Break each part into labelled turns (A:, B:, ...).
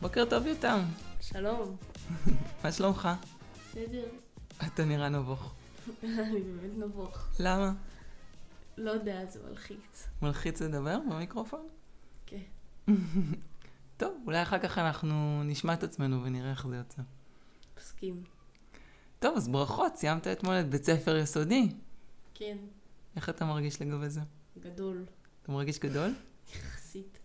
A: שלום יותם,
B: שלום.
A: מה שלומך?
B: בסדר.
A: אתה נראה נבוך.
B: אני באמת נבוך.
A: למה?
B: לא יודע, זה מלחיץ.
A: מלחיץ לדבר במיקרופון?
B: כן.
A: טוב, אולי אחר כך אנחנו נשמע את עצמנו ונראה איך זה יוצא.
B: מסכים.
A: טוב, אז ברכות, סיימת אתמול את בית ספר יסודי.
B: כן.
A: איך אתה מרגיש לגבי זה?
B: גדול.
A: אתה מרגיש גדול?
B: יחסית.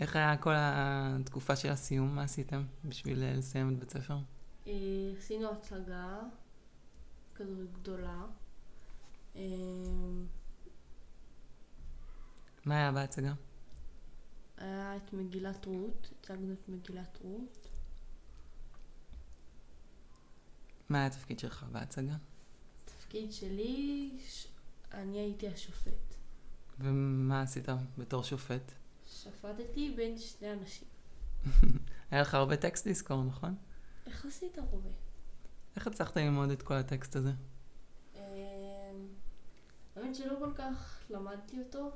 A: איך היה כל התקופה של הסיום? מה עשיתם בשביל אה, לסיים את בית ספר?
B: אה, עשינו הצגה כזו גדולה. אה,
A: מה היה בהצגה?
B: היה את מגילת רות. הצגנו את מגילת רות.
A: מה היה התפקיד שלך בהצגה?
B: התפקיד שלי, ש... אני הייתי השופט.
A: ומה עשית בתור שופט?
B: שפטתי בין שני אנשים.
A: היה לך הרבה טקסט לזכור, נכון?
B: יחסית הרבה.
A: איך הצלחת ללמוד את כל הטקסט הזה?
B: אמ, האמת שלא כל כך למדתי אותו,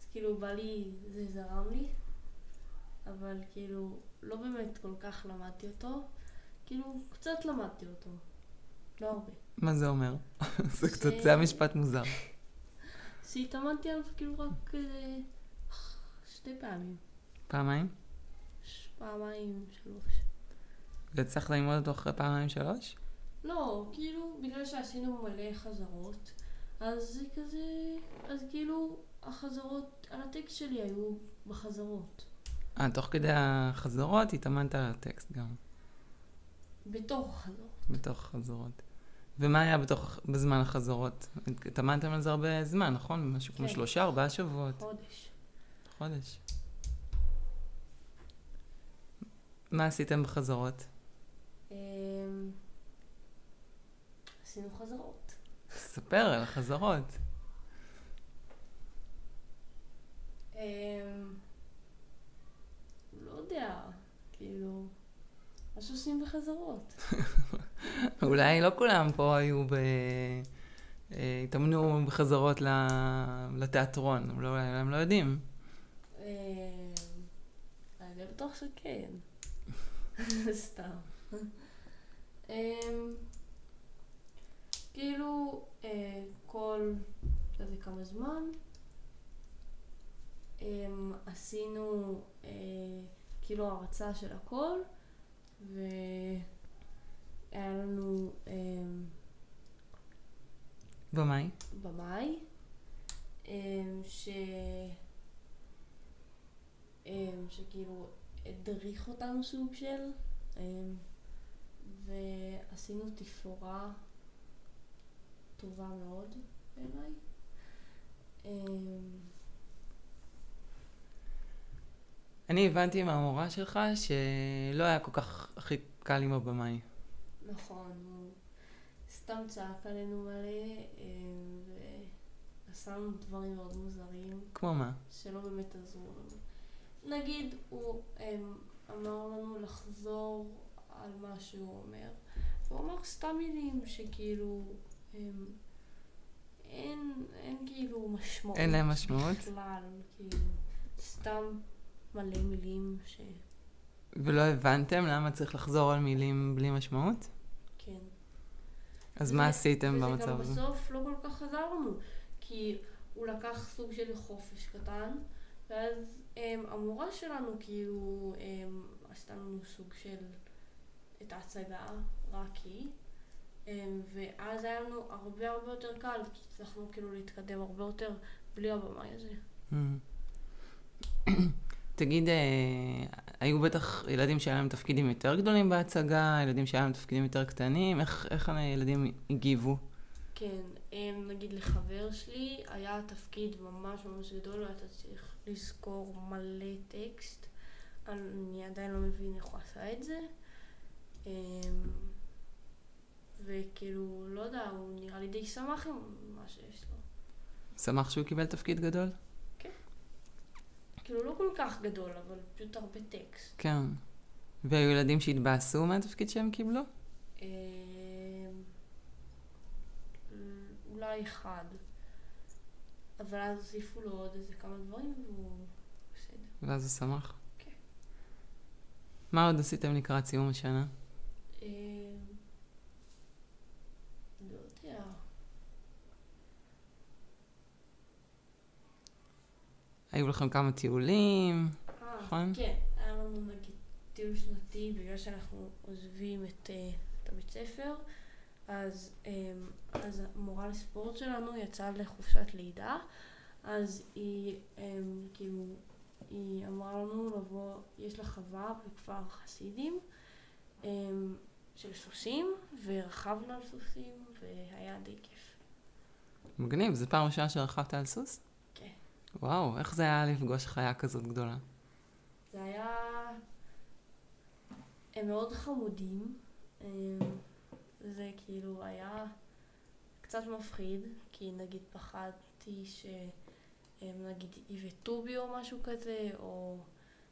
B: אז כאילו בא לי, זה זרם לי, אבל כאילו לא באמת כל כך למדתי אותו, כאילו קצת למדתי אותו, לא הרבה.
A: מה זה אומר? זה
B: ש-
A: קצת, זה היה משפט מוזר.
B: שהתאמנתי עליו כאילו רק אה, שתי פעמים,
A: פעמיים?
B: ש- פעמיים, שלוש.
A: והצלחת ללמוד אותו אחרי פעמיים שלוש?
B: לא, כאילו, בגלל שעשינו מלא חזרות, אז זה כזה, אז כאילו החזרות על הטקסט שלי היו בחזרות.
A: אה, תוך כדי החזרות התאמנת על הטקסט גם,
B: בתוך החלום.
A: בתוך החזרות. ומה היה בתוך, בזמן החזרות? התאמנתם על זה הרבה זמן, נכון? משהו כמו
B: כן.
A: שלושה, ארבעה שבועות,
B: חודש.
A: חודש. מה עשיתם בחזרות?
B: אמ, עשינו חזרות.
A: ספר על החזרות.
B: אמ, לא יודע, כאילו, מה שעושים בחזרות.
A: אולי לא כולם פה היו ב... אה, התאמנו בחזרות ל- לתיאטרון, אולי הם לא יודעים.
B: אמ, אני לא בטוח שכן. סתם. אמ, כאילו, אה, כל כזה כמה זמן אמ, עשינו אה, כאילו הרצה של הכל, והיה לנו אמ,
A: במאי.
B: במאי, אמ, ש... אמ, שכאילו הדריך אותנו סוג של, אמ, ועשינו תפאורה טובה מאוד בעיניי. אמ,
A: אני הבנתי מהמורה שלך שלא היה כל כך הכי קל עם הבמאי.
B: נכון, הוא סתם צעק עלינו מלא, אמ, ועשה לנו דברים מאוד מוזרים.
A: כמו מה?
B: שלא באמת עזרו לנו. נגיד, הוא הם, אמר לנו לחזור על מה שהוא אומר, הוא אמר סתם מילים שכאילו הם, אין, אין כאילו משמעות.
A: אין להם משמעות?
B: בכלל, כאילו, סתם מלא מילים שכן.
A: ולא הבנתם למה צריך לחזור על מילים בלי משמעות? אז
B: וזה-
A: מה עשיתם
B: וזה גם
A: במצב הזה?
B: בסוף לא כל כך עזר לנו, כי הוא לקח סוג של חופש קטן, ואז הם, המורה שלנו כאילו הם, עשתה לנו סוג של את ההצגה, רק היא, הם, ואז היה לנו הרבה הרבה יותר קל, כי הצלחנו כאילו להתקדם הרבה יותר בלי הבמאי הזה.
A: אמ. תגיד, אה, היו בטח ילדים שהיה להם תפקידים יותר גדולים בהצגה, ילדים שהיה להם תפקידים יותר קטנים, איך- איך הילדים הגיבו?
B: כן, הם, נגיד לחבר שלי היה תפקיד ממש ממש גדול, ואתה צריך לזכור מלא טקסט. אני עדיין לא מבין איך הוא עשה את זה. אמ, וכאילו, לא יודע, הוא נראה לי די שמח עם מה שיש לו.
A: שמח שהוא קיבל תפקיד גדול?
B: כאילו, לא כל כך גדול, אבל פשוט הרבה טקסט.
A: כן. והיו ילדים שהתבאסו מהתפקיד שהם קיבלו?
B: אמ, אולי אחד. אבל אז הוסיפו לו עוד איזה כמה דברים, והוא בסדר.
A: ואז הוא שמח.
B: כן.
A: מה עוד עשיתם לקראת סיום השנה?
B: אה, לא יודע.
A: היו לכם כמה טיולים,
B: אה,
A: נכון?
B: כן, היה לנו נגיד טיול שנתי, בגלל שאנחנו עוזבים את, אה, את הבית ספר, אז, אה, אז המורה לספורט שלנו יצאה לחופשת לידה, אז היא, אה, כאילו, היא אמרה לנו לבוא, יש לה חווה בכפר חסידים, אה, של סוסים, ורכבנו על סוסים, והיה די כיף.
A: מגניב, זו פעם ראשונה שרכבת על סוס?
B: כן.
A: וואו, איך זה היה לפגוש חיה כזאת גדולה?
B: זה היה... הם מאוד חמודים. אמ, זה כאילו היה קצת מפחיד, כי נגיד פחדתי שהם נגיד יבעטו בי או משהו כזה, או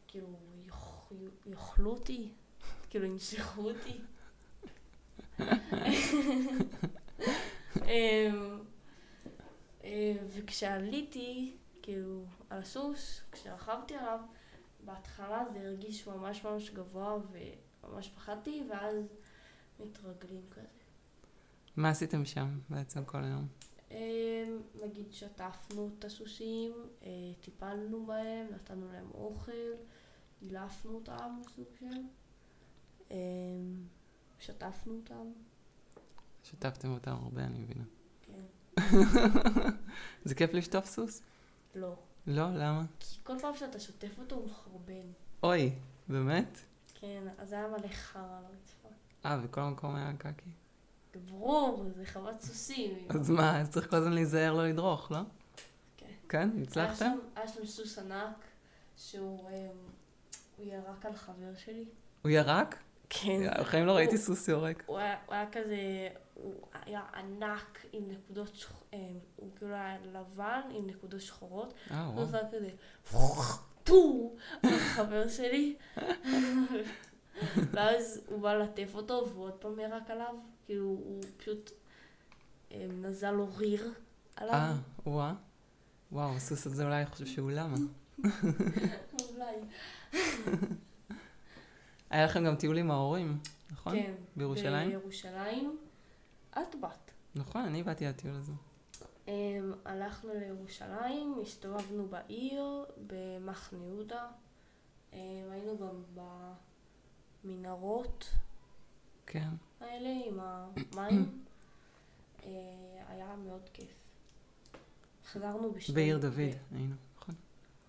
B: כאילו יאכ- יאכלו אותי, כאילו ינשכו אותי. אמ, אה, וכשעליתי, כאילו, על הסוס, כשרכבתי עליו, בהתחלה זה הרגיש ממש ממש גבוה וממש פחדתי, ואז מתרגלים כזה.
A: מה עשיתם שם בעצם כל היום?
B: אמ, נגיד שטפנו את הסוסים, אה, טיפלנו בהם, נתנו להם אוכל, דילפנו אותם סוג של, אמ, שטפנו אותם,
A: שיתפתם אותם הרבה, אני מבינה.
B: כן,
A: זה כיף לשטוף סוס?
B: לא.
A: לא, למה?
B: כי כל פעם שאתה שוטף אותו הוא מחרבן.
A: אוי, באמת?
B: כן, אז היה מלא חרא על הרצפה.
A: אה, וכל המקום היה קקי.
B: ברור, זה חוות סוסים.
A: אז מה, אז צריך כל הזמן להיזהר לא לדרוך, לא?
B: כן.
A: כן,
B: היה
A: הצלחתם?
B: שם- היה שם סוס ענק, שהוא אמ, הוא ירק על חבר שלי.
A: הוא ירק?
B: כן.
A: בחיים לא ראיתי סוס יורק.
B: הוא היה הוא היה כזה, הוא היה ענק עם נקודות שחורות, הוא כאילו היה לבן עם נקודות שחורות.
A: אה,
B: הוא
A: וואו.
B: עשה כזה, טו, על חבר שלי. ואז הוא בא לטף אותו והוא עוד פעם ירק עליו. כאילו, הוא פשוט אמ, נזל לו ריר עליו.
A: אה, וואה. וואו, הסוס הזה אולי חושב שהוא למה.
B: אולי.
A: היה לכם גם טיול עם ההורים, נכון?
B: כן.
A: בירושלים?
B: בירושלים. את באת.
A: נכון, אני באתי לטיול הזה.
B: אמ, הלכנו לירושלים, הסתובבנו בעיר, במחנה יהודה. אמ, היינו גם במנהרות
A: כן.
B: האלה עם המים. אה, היה מאוד כיף. חזרנו בשתיים.
A: בעיר דוד
B: כן.
A: היינו, נכון?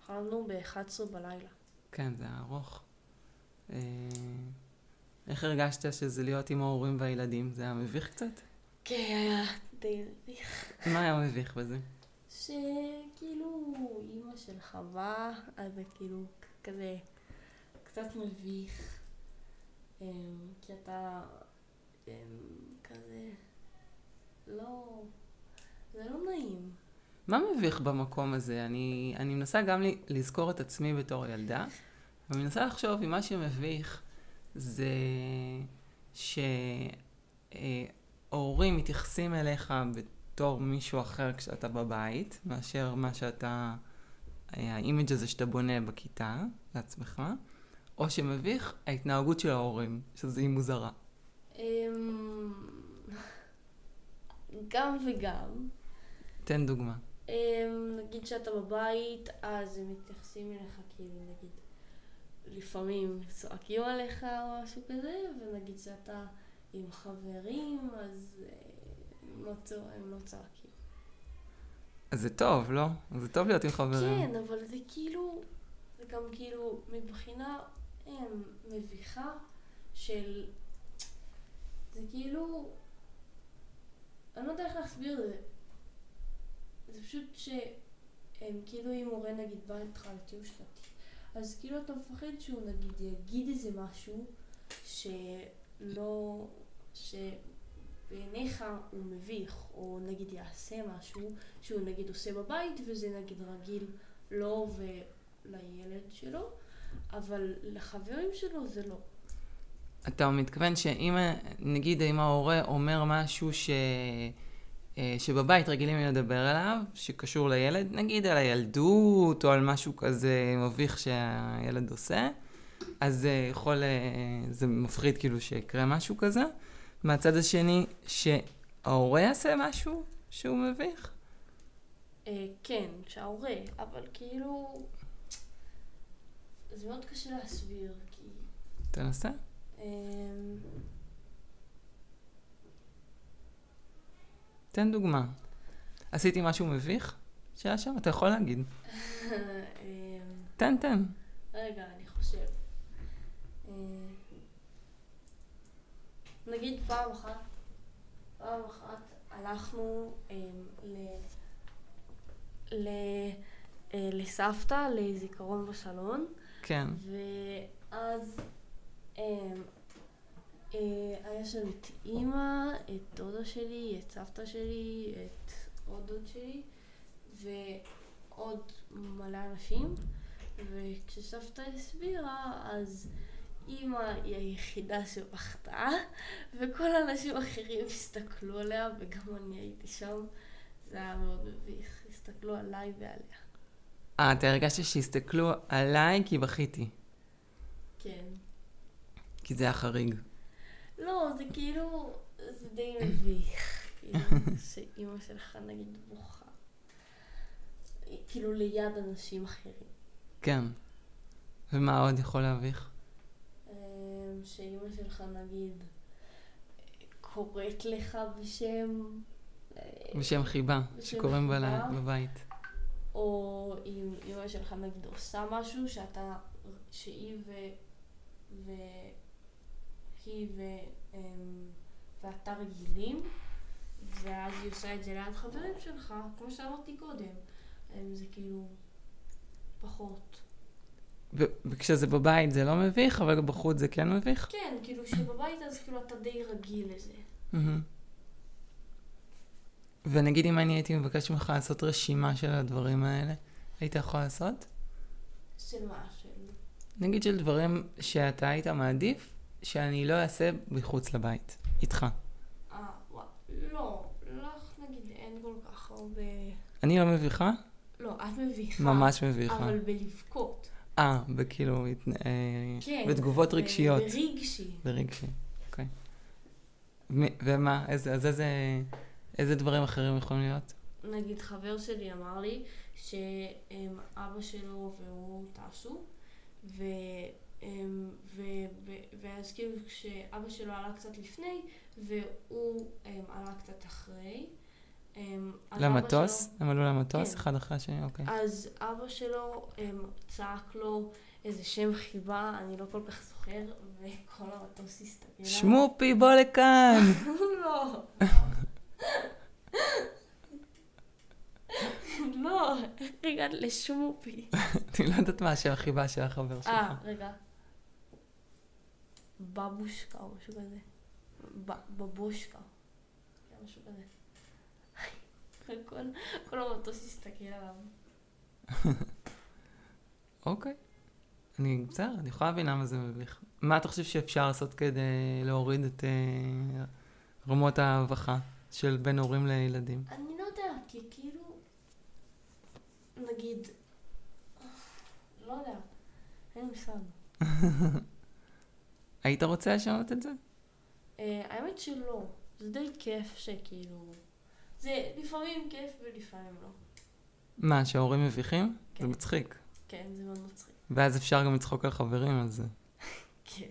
B: חזרנו ב-11 בלילה.
A: כן, זה היה ארוך. אה, איך הרגשת שזה להיות עם ההורים והילדים? זה היה מביך קצת?
B: כן, היה די מביך.
A: מה היה מביך בזה?
B: שכאילו אימא של חווה, אז זה כאילו ק- כזה קצת מביך, אמ, כי אתה אמ, כזה לא, זה לא נעים.
A: מה מביך במקום הזה? אני, אני מנסה גם לי, לזכור את עצמי בתור ילדה, ואני מנסה לחשוב אם מה שמביך זה שהורים מתייחסים אליך בתור מישהו אחר כשאתה בבית, מאשר מה שאתה, אה, האימג' הזה שאתה בונה בכיתה לעצמך, או שמביך ההתנהגות של ההורים, שזה היא מוזרה.
B: אמ, גם וגם.
A: תן דוגמה.
B: אמ, נגיד שאתה בבית, אז הם מתייחסים אליך כאילו, נגיד, לפעמים צועקים עליך או משהו כזה, ונגיד שאתה עם חברים, אז אה, הם לא, צוע... הם לא צועקים.
A: אז זה טוב, לא? זה טוב להיות עם חברים.
B: כן, אבל זה כאילו, זה גם כאילו מבחינה הם, מביכה של... זה כאילו... אני לא יודע איך להסביר את זה. זה פשוט שהם כאילו אם מורה נגיד בא איתך לטיול שנתי, אז כאילו אתה מפחד שהוא נגיד יגיד איזה משהו שלא... שבעיניך הוא מביך, או נגיד יעשה משהו שהוא נגיד עושה בבית, וזה נגיד רגיל לו ולילד שלו, אבל לחברים שלו זה לא.
A: אתה מתכוון שאם, נגיד, אם ההורה אומר משהו ש... אה, שבבית רגילים לדבר עליו, שקשור לילד, נגיד על הילדות או על משהו כזה מביך שהילד עושה, אז זה יכול, אה, זה מפחיד כאילו שיקרה משהו כזה. מהצד השני, שההורה יעשה משהו שהוא מביך.
B: אה, כן, שההורה, אבל כאילו... זה מאוד קשה להסביר, כי...
A: תנסה.
B: אמ,
A: תן דוגמה. עשיתי משהו מביך שהיה שם? אתה יכול להגיד.
B: אמ,
A: תן, תן.
B: רגע, אני חושב. אמ, נגיד פעם אחת, פעם אחת הלכנו אמ, ל... ל... אה, לסבתא, לזיכרון בסלון,
A: כן.
B: ואז אמ, אה, היה שם את אימא, את דודה שלי, את סבתא שלי, את עוד דוד שלי, ועוד מלא אנשים. וכשסבתא הסבירה, אז אימא היא היחידה שבכתה, וכל האנשים האחרים הסתכלו עליה, וגם אני הייתי שם. זה היה מאוד מביך, הסתכלו עליי ועליה.
A: אה, אתה הרגשת שהסתכלו עליי כי בכיתי.
B: כן.
A: כי זה היה חריג.
B: לא, זה כאילו, זה די מביך. כאילו, שאימא שלך נגיד בוכה. כאילו ליד אנשים אחרים.
A: כן. ומה עוד יכול להביך?
B: אמ, שאימא שלך נגיד קוראת לך בשם... אה,
A: בשם חיבה,
B: בשם
A: שקוראים בלה-
B: חיבה.
A: בבית.
B: או אם אמא שלך נגיד עושה משהו שאתה, שהיא ו... והיא ו... אמ, ואתה רגילים, ואז היא עושה את זה ליד חברים שלך, כמו שאמרתי קודם. אמ, זה כאילו פחות.
A: ו- וכשזה בבית זה לא מביך, אבל בחוץ זה כן מביך?
B: כן, כאילו שבבית אז כאילו אתה די רגיל לזה.
A: מהמם. ונגיד אם אני הייתי מבקש ממך לעשות רשימה של הדברים האלה, היית יכול לעשות?
B: של מה? של...
A: נגיד של דברים שאתה היית מעדיף שאני לא אעשה מחוץ לבית, איתך.
B: אה, וואי. לא, לך נגיד אין כל כך הרבה...
A: אני לא מביכה?
B: לא, את מביכה.
A: ממש מביכה.
B: אבל בלבכות.
A: אה, וכאילו, התנ- אה,
B: כן,
A: בתגובות
B: ב-
A: רגשיות.
B: ברגשי.
A: ברגשי, אוקיי. מ- ומה, איזה- אז איזה, איזה דברים אחרים יכולים להיות?
B: אה, נגיד חבר שלי אמר לי שאבא שלו והוא טסו, ו, אמ, ו, ו, ואז כאילו כשאבא שלו עלה קצת לפני והוא אמ, עלה קצת אחרי. אמ, אז אבא
A: למטוס?
B: שלו-
A: הם עלו למטוס
B: כן.
A: אחד אחרי השני? אוקיי.
B: אז אבא שלו אמ, צעק לו איזה שם חיבה, אני לא כל כך זוכר, וכל המטוס הסתכל עליו.
A: שמופי, בוא לכאן!
B: לא. לא, איך הגעת לשמופי?
A: אני לא יודעת מה השם החיבה של החבר שלך.
B: אה, רגע. בבושקה או משהו כזה. ב- בבושקה. כן, משהו כזה. כל- כל המטוס הסתכל עליו.
A: אוקיי. אני, בסדר, אני יכולה להבין למה זה מביך. מה אתה חושב שאפשר לעשות כדי להוריד את אה, רמות ההבכה של בין הורים לילדים?
B: אני לא יודעת, כי כאילו, נגיד, לא יודעת, אין לי מושג.
A: היית רוצה לשנות את זה?
B: אה, האמת שלא. זה די כיף שכאילו... זה לפעמים כיף ולפעמים לא.
A: מה, שההורים מביכים? זה
B: כן.
A: מצחיק.
B: כן, זה מאוד מצחיק.
A: ואז אפשר גם לצחוק על חברים על זה.
B: כן.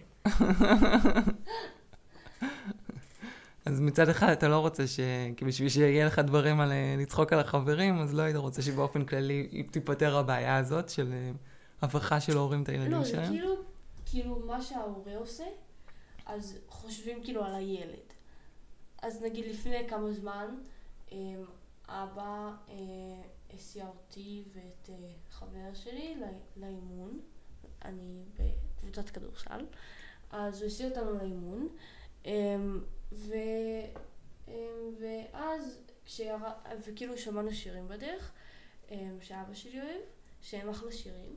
A: אז מצד אחד אתה לא רוצה ש... כי בשביל שיהיה לך דברים על אה, לצחוק על החברים, אז לא היית רוצה שבאופן כללי תיפתר הבעיה הזאת של אה, הבכה של הורים את הילדים
B: לא, זה
A: שלהם.
B: כאילו, כאילו מה שההורה עושה, אז חושבים כאילו על הילד. אז נגיד לפני כמה זמן, אמ, אבא אה, הסיע אותי ואת אה, חבר שלי לא- לאימון, אני בקבוצת כדורסל, אז הוא הסיע אותנו לאימון, אמ, ו... אמ, ואז כשירד, וכאילו שמענו שירים בדרך, אמ, שאבא שלי אוהב, שהם אחלה שירים,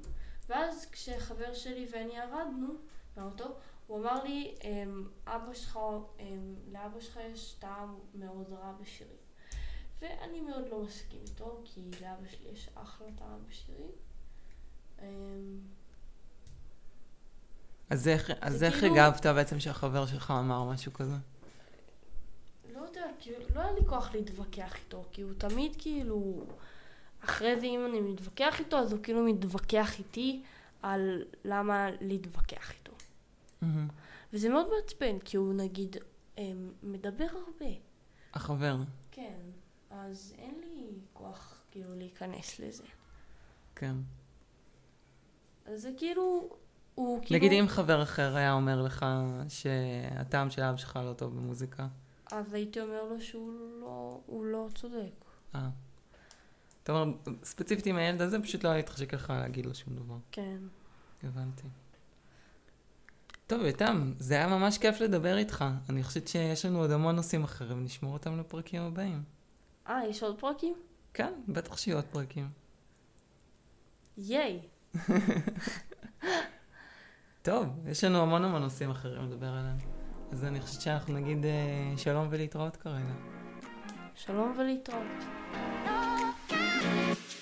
B: ואז כשחבר שלי ואני ירדנו מהאוטו, הוא אמר לי, אמ, אבא שלך, אמ, לאבא שלך יש טעם מאוד רע בשירים. ואני מאוד לא מסכים איתו, כי לאבא שלי יש אחלה טעם בשירים. אמ,
A: אז איך, אז
B: זה
A: איך
B: כאילו-
A: הגבת בעצם שהחבר שלך אמר משהו כזה?
B: לא יודע, כאילו, לא היה לי כוח להתווכח איתו, כי הוא תמיד כאילו... אחרי זה אם אני מתווכח איתו, אז הוא כאילו מתווכח איתי על למה להתווכח איתו.
A: מהמם.
B: וזה מאוד מעצבן, כי הוא נגיד אמ, מדבר הרבה.
A: החבר.
B: כן, אז אין לי כוח כאילו להיכנס לזה.
A: כן.
B: כאילו- אז זה כאילו, הוא כאילו...
A: נגיד אם חבר אחר היה אומר לך שהטעם של אבא שלך לא טוב במוזיקה.
B: אז הייתי אומר לו שהוא לא, הוא לא צודק.
A: אה. אתה אומר, ספציפית עם הילד הזה, פשוט לא היה להתחשק לך להגיד לו שום דבר.
B: כן.
A: הבנתי. טוב, יתם, זה היה ממש כיף לדבר איתך. אני חושבת שיש לנו עוד המון נושאים אחרים, נשמור אותם לפרקים הבאים.
B: אה, יש עוד פרקים?
A: כן, בטח שיהיו עוד פרקים.
B: ייי.
A: טוב, יש לנו המון המון נושאים אחרים לדבר עליהם. אז אני חושבת שאנחנו נגיד אה, שלום ולהתראות כרגע.
B: שלום ולהתראות.
C: Look out,